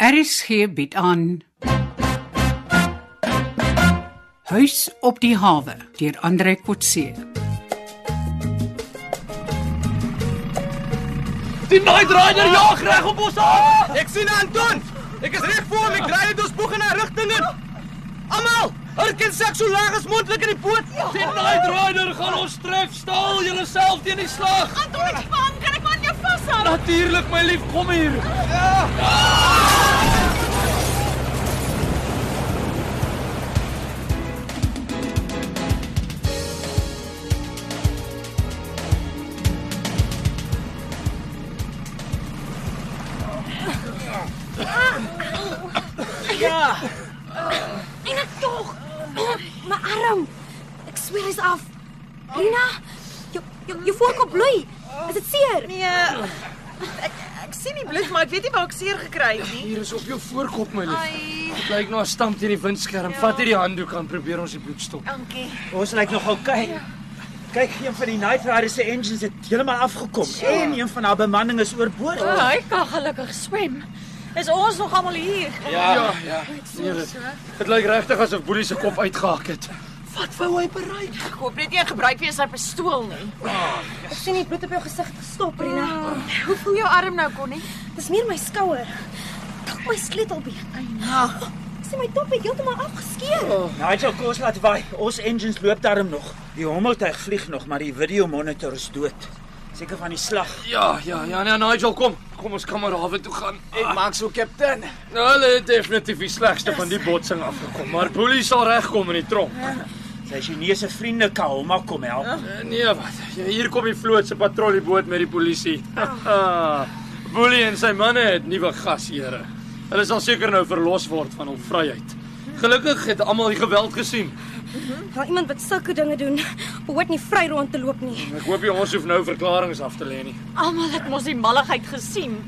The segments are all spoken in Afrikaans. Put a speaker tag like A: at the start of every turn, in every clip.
A: RSG bied aan Huis op die hawe deur Andre Kotse.
B: Die Night Rider jaag reg op ons aan. Ah. Ek sien Anton. Ek is reg voor hom. Ek draai dit ons boog in 'n rigting in. Almal, herken sak so laag as moontlik in die boot.
C: Ja.
B: Die Night Rider gaan ons tref. Staal julleself teen die slag.
C: Anton, ek vang, kan ek maar aan jou vashou?
B: Natuurlik my lief, kom hier. Ja,
C: En ek tog. Eh, My arm. Ek sweer hy's af. Rina, jou jou jou voorkop bloei. Is dit seer?
D: Nee. Ek ek sien die bloed, maar ek weet nie waar ek seer gekry het nie.
B: hier is op jou voorkop my lief.
D: Ai,
B: Dit lyk na 'n stamp teen die windskerm.
C: Ja.
B: Vat hierdie handdoek aan, probeer ons die bloed stop.
D: dankie.
E: Ons lyk nog oukei. Kyk, een van die Night Rider se engines het heeltemal afgekom en een van haar bemanning is oorboord.
C: Hy kan gelukkig swem. Is ons nog almal hier?
B: Ja, ja. Nee, dit, dit lyk regtig asof Boelie se kop uitgehaak het.
D: Wat wou hy bereik? Ek hoop net jy gebruik weer sy pistool nie.
F: Ek sien die bloed op jou gesig gestop, Rina.
C: Ah.
D: Hoe voel jou arm nou, Connie?
F: Dis meer my skouer. Dalk my sleutelbeen.
C: Ja.
D: Nou,
F: Ek sien my top het heeltemal afgeskeur.
C: Oh.
E: Nigel, kom ons laat vaai. Ons engines loop daarom nog. Die hommeltuig vlieg nog, maar die video monitor is dood. Seker van die slag.
B: Ja, ja, ja, nee, Nigel, kom. Kom ons kan maar hawe toe gaan. Ek
E: maak so kaptein.
B: nou, hulle het definitief die slegste van die botsing afgekom, maar Boelie sal regkom in die tronk.
E: Sy Chinese vriende Kahoma kom help.
B: Eh, Nee, wat? Ja, Hier kom die vloot se patrolleboot met die polisie. Boelie en sy manne het nuwe gasheere. Hulle sal seker nou verlos word van hul vryheid. Gelukkig het almal die geweld gesien.
F: Daar iemand wat sulke dinge doen, behoort nie vry rond te loop nie.
B: Ek hoop jy ons hoef nou verklaringe af te lê nie.
D: almal het mos die malligheid gesien.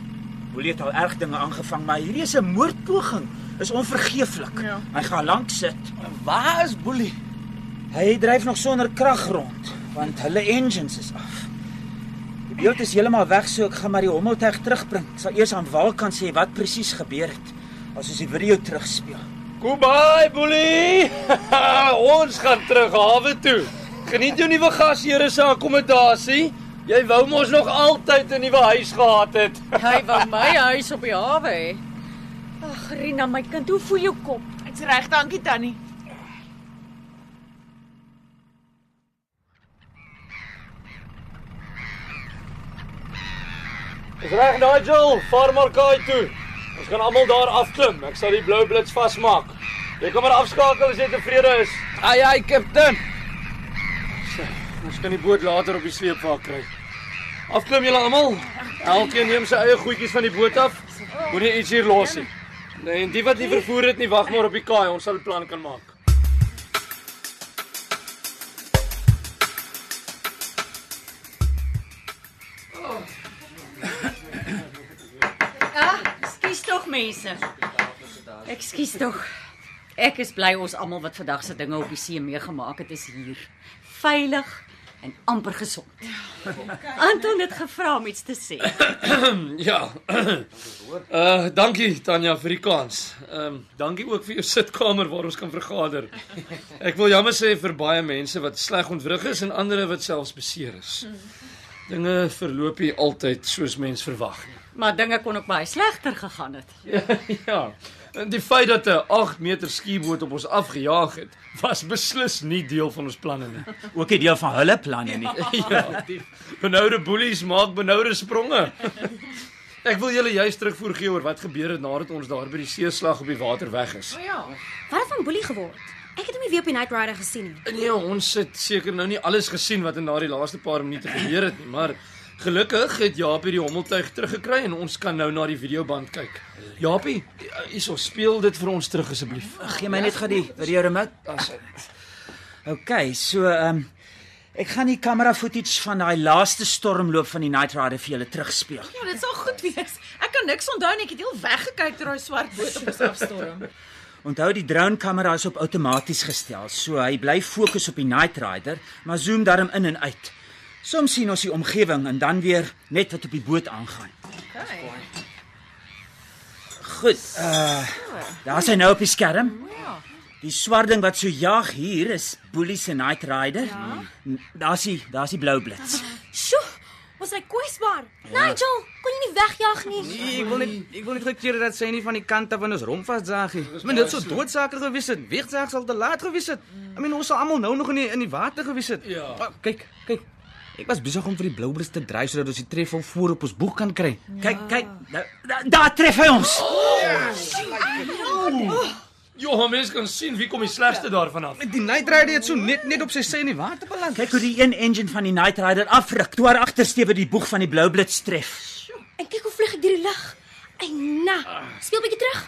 E: Boelie het al erg dinge aangevang, maar hierdie is 'n moordpoging. Is onvergeeflik. Ja. Hy gaan lank sit.
B: Waar is Boelie?
E: Hy dryf nog sonder krag rond, want hulle engines is af. Die beeld is heeltemal weg, so ek gaan maar die hommeltuig terugbring. Ek sal eers aan Wal kan sê wat presies gebeur het as ons die video terugspeel.
B: Goodbye, Boelie. Ons gaan terug hawe toe. Geniet jou nuwe gasheer se akkommodasie. Jy wou mos nog altyd 'n nuwe huis gehad het.
G: Hy wou my huis op die hawe hê.
C: Ag, Rina, my kind, hoe voel jou kop?
D: Ek's reg, dankie Tannie.
B: Dis reg, Nigel. Vaar maar kaai toe. Ons gaan almal daar afklim. Ek sal die blou blits vasmaak. Jy kan maar afskakel as jy tevrede is.
E: Ai ai, kaptein.
B: Ons kan die boot later op die sleepwa kry. Afklim julle almal. Elkeen neem sy eie goedjies van die boot af. Moenie iets hier los nie. Nee, en die wat nie vervoer het nie, wag maar op die kaai. Ons sal 'n plan kan maak.
G: Ag, skuis Ah, tog mense. Ekskuus tog. Ek is bly ons almal wat vandag se dinge op die see meegemaak het is hier. Veilig en amper gesond. Anton het gevra om iets te sê.
B: Ja. Uh dankie Tanya vir die kans. Ehm dankie ook vir jou sitkamer waar ons kan vergader. Ek wil jammer sê vir baie mense wat sleg ontwrig is en ander wat selfs beseer is. Dinge verloop nie altyd soos mens verwag nie.
G: Maar dinge kon ook baie slegter gegaan het.
B: Ja. En die feit dat 'n 8 meter skieboot op ons afgejaag het, was beslis nie deel van ons planne nie.
E: Ook 'n deel van hulle planne nie.
B: Ja, die benoude boelies maak benoude spronge. Ek wil julle juist terugvoer gee oor wat gebeur het nadat ons daar by die seeslag op die water weg is.
F: Wat het van Boelie geword? Ek het hom nie weer op die Night Rider gesien nie.
B: Nee, ons het seker nou nie alles gesien wat in daardie laaste paar minute gebeur het nie, maar gelukkig het Japie die hommeltuig teruggekry en ons kan nou na die videoband kyk. Japie, hierso speel dit vir ons terug asseblief.
E: Gee my net
D: Ja?
E: gou die video remote. OK, so ehm um, ek gaan die kamera footage van daai laaste stormloop van die Night Rider vir julle terugspeel.
D: Ja, dit sal goed wees. Ek kan niks onthou nie. Ek het heel weggekyk toe daai swart boot op ons afstorm.
E: Onthou die drone kamera is op outomaties gestel, so hy bly fokus op die Night Rider, maar zoom daarom in en uit. Soms sien ons die omgewing en dan weer net wat op die boot aangaan. Goed. eh, Daar is hy nou op die skerm. Die swart ding wat so jag hier is Boelie se Night Rider. Ja. Daar's hy, daar's die blou blits.
C: Sjoe, was hy kwesbaar. Nigel, kon jy nie wegjag nie.
H: Nee, ek wil net ek wil net gekeer dat sy nie van die kant af in ons romp vasjag nie. Maar dit sou doodsaker gewees het. Wegjaag sal te laat gewees het. I mean ons sal almal nou nog in die, in die water gewees het.
B: Ja.
H: Ah, kyk, kyk. Ek was besig om vir die bloubrus te dryf sodat ons die treffel voor op ons boeg kan kry.
E: Ja. Kyk, kyk, da- da- daar tref hy ons.
B: Ja, mense kan sien wie kom die slegste daarvan af.
H: Die Night Rider het so net net op sy sy in die water beland.
E: Kyk hoe die een engine van die Night Rider afruk, toe haar agtersteewe die boeg van die blou blits tref.
C: En kyk hoe vlug ek deur die lug. Ai na. Speel bietjie terug.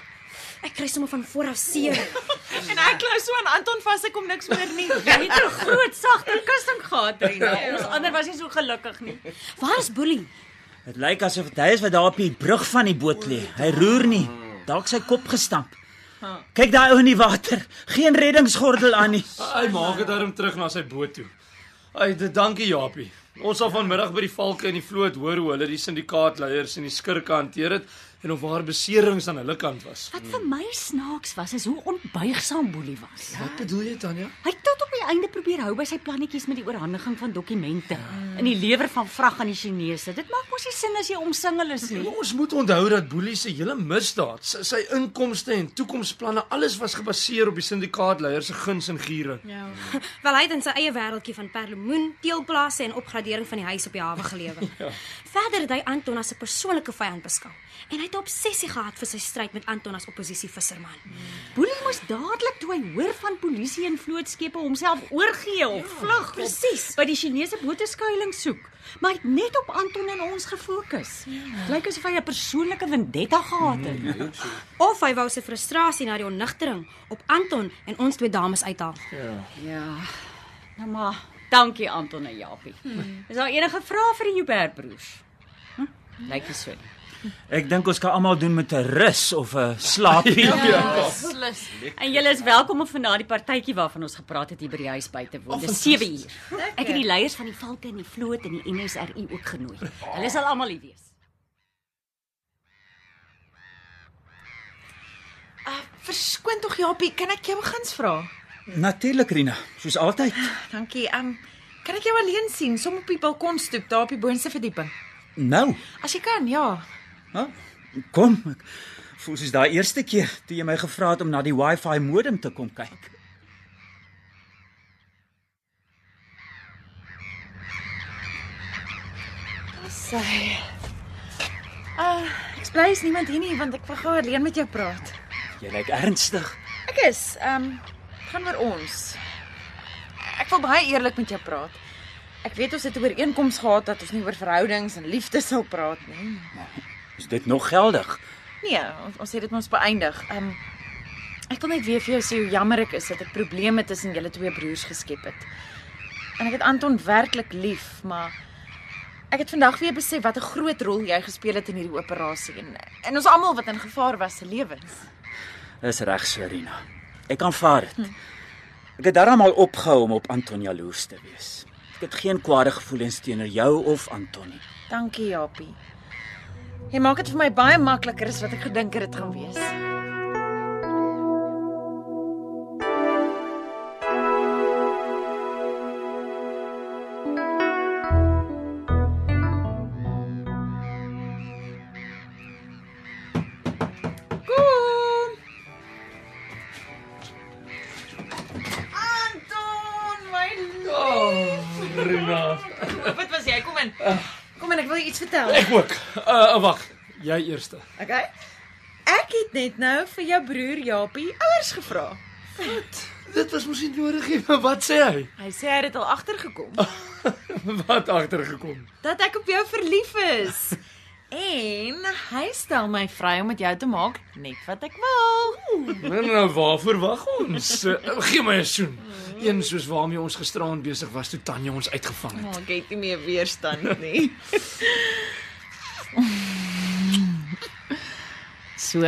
C: Ek kry sommer van voor af seer.
D: En ek klou so aan Anton vas, ek kom niks meer nie.
G: Jy het 'n groot sagte kussing gehad, Rina. Ons ander was nie so gelukkig nie.
C: Waar is Boelie?
E: Dit lyk asof dit hy is wat daar op die brug van die boot lê. Hy roer nie. Dalk sy kop gestamp. Kyk daai ou in die water. Geen reddingsgordel aan nie.
B: Hy maak dit darm terug na sy boot toe. Hy dit dankie Japie. Ons sal vanmiddag by die valke in die vloot hoor hoe hulle die syndikaatleiers en die skurke hanteer het en of haar beserings aan hulle kant was.
G: Wat vir my snaaks was is hoe onbuigsaam Boelie was.
B: Wat bedoel jy Tanya?
G: Hy het tot op die einde probeer hou by sy plannetjies met die oorhandiging van dokumente
B: Ah.
G: in die lewer van vrag aan die Chinese. Dit maak mos nie sin as jy omsingel is nie.
B: Ons moet onthou dat Boelie se hele misdaad, sy, sy inkomste en toekomsplanne, alles was gebaseer op die syndikaatleiers se guns en giere.
F: Wel hy het in sy eie wêreldjie van perlemoen, teelplase en opgradering van die huis op die hawe gelewe. ja.
C: Verder het hy Anton as 'n persoonlike vyand beskou en hy het 'n obsessie gehad vir sy stryd met Anton as oppositie visserman.
G: Boelie moes dadelik toe hy hoor van polisie en vlootskepe homself oorgee of vlug.
C: presies.
G: By die Chinese bote skuilings soek. Maar hy het net op Anton en ons gefokus. Lyk asof hy 'n persoonlike vendetta gehad het.
B: Hmm.
F: Of hy wou sy frustrasie na die onnigtering op Anton en ons twee dames uithaal.
G: Ja. Nou maar, dankie Anton en Japie.
D: Hmm.
G: Is daar enige vrae vir die Joubert broers? Hm? Lyk dit so. nie.
E: Ek dink ons kan almal doen met 'n rus of 'n slaapie. ja.
G: Beslis. En julle is welkom om vanaand die partytjie waarvan ons gepraat het hier by die huis by te woon. Dis 7 uur. Ek het die leiers van die valke en die vloot en die NSRI ook genooi. Hulle sal almal hier wees.
D: Uh, verskoon tog Japie, kan ek jou 'n guns vra?
E: Natuurlik Rina, soos altyd.
D: Dankie. Ehm um, kan ek jou alleen sien som op die balkonstoep daar op die boonste verdieping?
E: Nou,
D: As jy kan, ja.
E: huh? kom. Ek voel soos daai eerste keer toe jy my gevra het om na die Wi-Fi modem te kom kyk.
D: Sy. Ah, uh, ek bly is niemand hier nie want ek wil gou alleen met jou praat.
E: Jy lyk ernstig.
D: Ek is ehm um, gaan oor ons. Ek wil baie eerlik met jou praat. Ek weet ons het 'n ooreenkoms gehad dat ons nie oor verhoudings en liefde sal praat nie.
E: Is dit nog geldig?
D: Nee, ons, ons het dit mos beëindig. Ehm um, ek wil net weer vir jou sê hoe jammer ek is dat ek probleme tussen julle twee broers geskep het. En ek het Anton werklik lief, maar ek het vandag weer besef wat 'n groot rol jy gespeel het in hierdie operasie en en ons almal wat in gevaar was se lewens.
E: Dis reg, Serena. Ek aanvaar dit. Ek het daarom al opgehou om op Anton jaloers te wees. Ek het geen kwade gevoelens teenoor jou of Anton nie.
D: Dankie, Japie. Jy maak dit vir my baie makliker as wat ek gedink het dit gaan wees. Kom. Anton, my
B: Oh, Rina.
D: Wat was jy? Kom in. Kom in, ek wil jou iets vertel.
B: Ek ook. Uh wag, jy eerste.
D: Okay. Ek het net nou vir jou broer Japie ouers gevra.
B: Dit was mos nie nodig nie. maar Wat sê hy?
D: Hy sê hy het al agtergekom
B: Wat agtergekom?
D: dat ek op jou verlief is. En hy stel my vry om met jou te maak net wat ek wil.
B: Nou nou waarvoor wag ons? Uh, Gee my 'n soen. Een soos waarmee ons gisteraand besig was toe Tanya ons uitgevang het.
D: Maar ek het nie meer weerstand nie. so.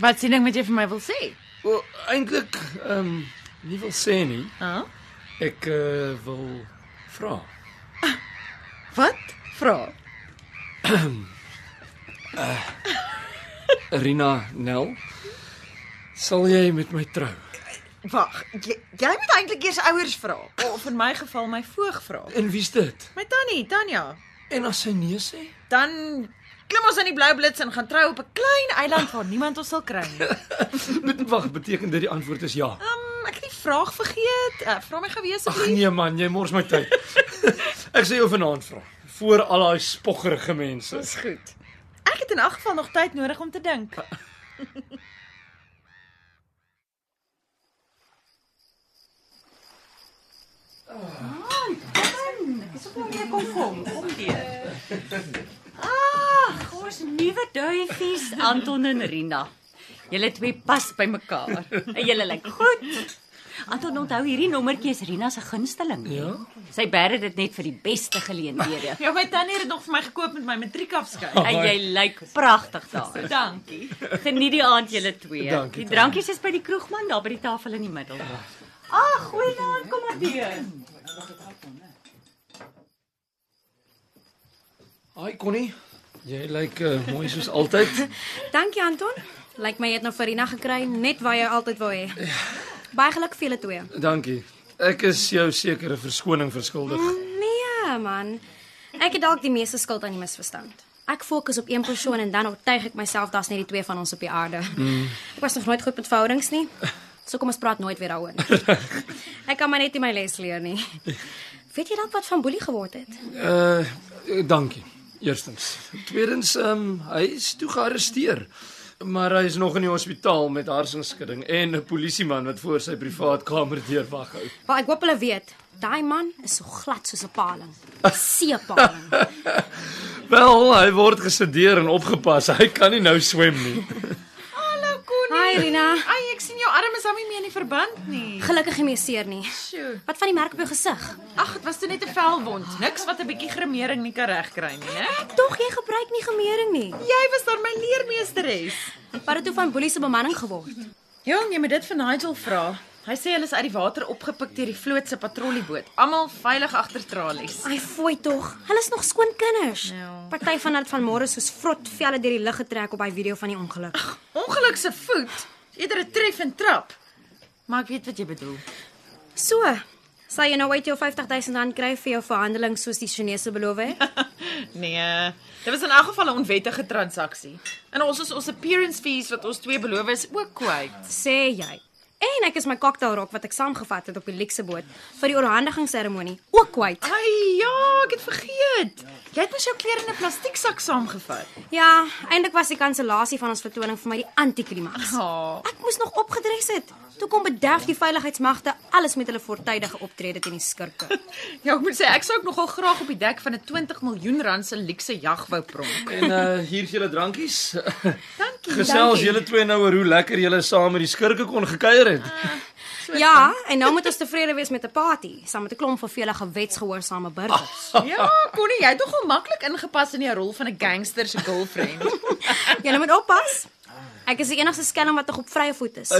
D: Wat sien ek met jy vir my wil sê?
B: Wel, eintlik ehm um, nie wil sê nie.
D: Hæ?
B: Ek uh, wil vra.
D: Wat? Vra.
B: Eh, Rina Nel, sal jy met my trou?
D: Wag, jy, jy moet eintlik eers ouers vra of in my geval my voog vra.
B: En wie's dit?
D: My tannie, Tanya.
B: En as sy nee sê?
D: Dan klim ons in die blou blits en gaan trou op 'n klein eiland waar niemand ons sal kry nie.
B: Bet- Wag, beteken dit die antwoord is ja?
D: Um, ek het die vraag vergeet. Uh, vra my gewees
B: Ag
D: asseblief.
B: nee man, jy mors my tyd. Ek sê jou vanaand vra voor al daai spoggerige mense.
D: Dis goed. Ek het in elk geval nog tyd nodig om te dink.
G: Ag, ons nuwe duifies Anton en Rina. Julle twee pas by mekaar. En julle lyk goed. Anton onthou hierdie nommertjie is Rina se gunsteling. Ja. Sy bære dit net vir die beste geleenthede.
D: Ja, my tannie het dit nog vir my gekoop met my matriekafskeid.
G: En jy lyk pragtig daar.
D: Dankie.
G: Geniet die aand julle twee.
B: Dankie,
G: die drankies is by die kroegman daar by die tafel in die middel. Ag, goeie naam, kom maar deur.
B: Hi Connie, jy lyk uh, mooi soos altyd.
F: Dankie Anton. Lyk my jy het nou vir Rina gekry net waar jy altyd wou hê. Baie geluk vir julle twee.
B: Dankie. Ek is jou sekere verskoning verskuldig.
F: Nee man. Ek het dalk die meeste skuld aan die misverstand. Ek fokus op een persoon en dan oortuig ek myself daar's net die twee van ons op die aarde. Ek was nog nooit goed met verhoudings nie. So kom ons praat nooit weer daaroor nie. Ek kan maar net nie my les leer nie. Weet jy dalk wat van Boelie geword het?
B: Uh dankie. Eerstens. Tweedens, ehm um, hy is toe gearresteer. Maar hy is nog in die hospitaal met harsingskudding en 'n polisieman wat voor sy privaat kamer deur wag hou.
F: Wel, ek hoop hulle weet. Daai man is so glad soos 'n paling. Seepaling.
B: Wel, hy word gesedeer en opgepas. Hy kan nie nou swem nie.
D: Hallo Connie.
F: Hi Rina.
D: nee. Ai, ek sien jou arm is hom nie meer in die verband nie.
F: Gelukkig nie meer seer nie.
D: Sjoe.
F: Wat van die merk op jou gesig?
D: Ag, dit was toe net 'n velwond. Niks wat 'n bietjie gremering nie kan regkry nie, né?
F: Tog jy gebruik nie gemering nie.
D: Jy was dan my leermeesteres.
F: Wat het toe van Boelie se bemanning geword?
D: Jong, jy moet dit vir Nigel vra. Hy sê hulle is uit die water opgepik deur die vloot se patrollieboot. Almal veilig agter tralies.
F: Ai, fooi tog. Hulle is nog skoon kinders.
D: Ja.
F: Party van hulle het vanmôre soos vrot velle deur die lug getrek op hy video van die ongeluk.
D: Ongeluk se voet. Eerder 'n tref en trap. Maar ek weet wat jy bedoel.
F: So, sal jy nou uit jou R50000 rand kry vir jou verhandeling soos die Chinese beloof
D: Ja.
F: het?
D: Nee, dit was in elk geval 'n onwettige transaksie. En ons is ons appearance fees wat ons twee beloof is ook kwyt.
F: Sê jy. En ek is my cocktailrok wat ek saamgevat het op die Lexie boot vir die oorhandigingsseremonie ook kwyt.
D: Ai ja, ek het vergeet. Jy het mos jou klere in 'n plastieksak saamgevat.
F: Ja, eintlik was die kansellasie van ons vertoning vir my die antiklimaks.
D: Ja.
F: Ek moes nog opgedres het. Toe kom bederf die veiligheidsmagte alles met hulle voortydige optrede teen die skurke.
D: Ja, ek moet sê ek sou ook nogal graag op die dek van 'n 20 miljoen rand se luukse jag wou pronk.
B: En uh hier is julle drankies.
D: Dankie.
B: Gesels julle twee nou oor hoe lekker julle saam met die skurke kon gekuier het.
F: Ja, en nou moet ons tevrede wees met 'n party, saam met 'n klomp vervelige wetsgehoorsame burgers.
D: Ja, Connie, jy het nogal maklik ingepas in die rol van 'n gangster se girlfriend.
F: Julle moet oppas. Ek is die enigste skelm wat nog op vrye voet is.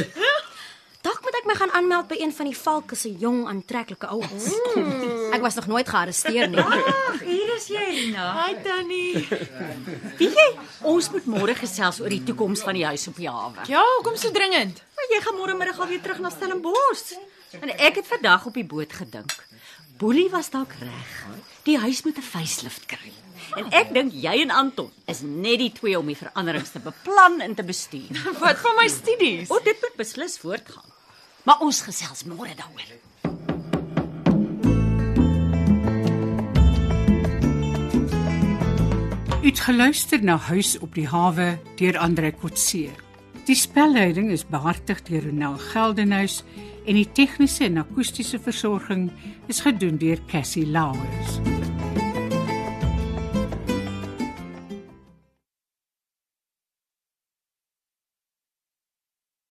F: Dalk moet ek my gaan aanmeld by een van die valke se jong aantreklike ouens. Ek was nog nooit gearresteer nie.
G: Ag, hier is jy, Rina.
D: Hi Tannie.
G: Weet jy, ons moet môre gesels oor die toekoms van die huis op die hawe.
D: Ja, kom so dringend.
G: Maar jy gaan môre middag alweer terug na Stellenbosch. En ek het vandag op die boot gedink. Boelie was dalk reg. Die huis moet 'n facelift kry. En ek dink jy en Anton is net die twee om die veranderings te beplan en te bestuur.
D: Wat van my studies?
G: O, dit moet beslis voortgaan. Maar ons gesels môre daaroor.
A: U het geluister na Huis op die hawe deur Andre Kotse. Die spelleiding is behartig deur Ronel Geldenhuys en die tegniese en akoestiese versorging is gedoen deur Cassie Lauers.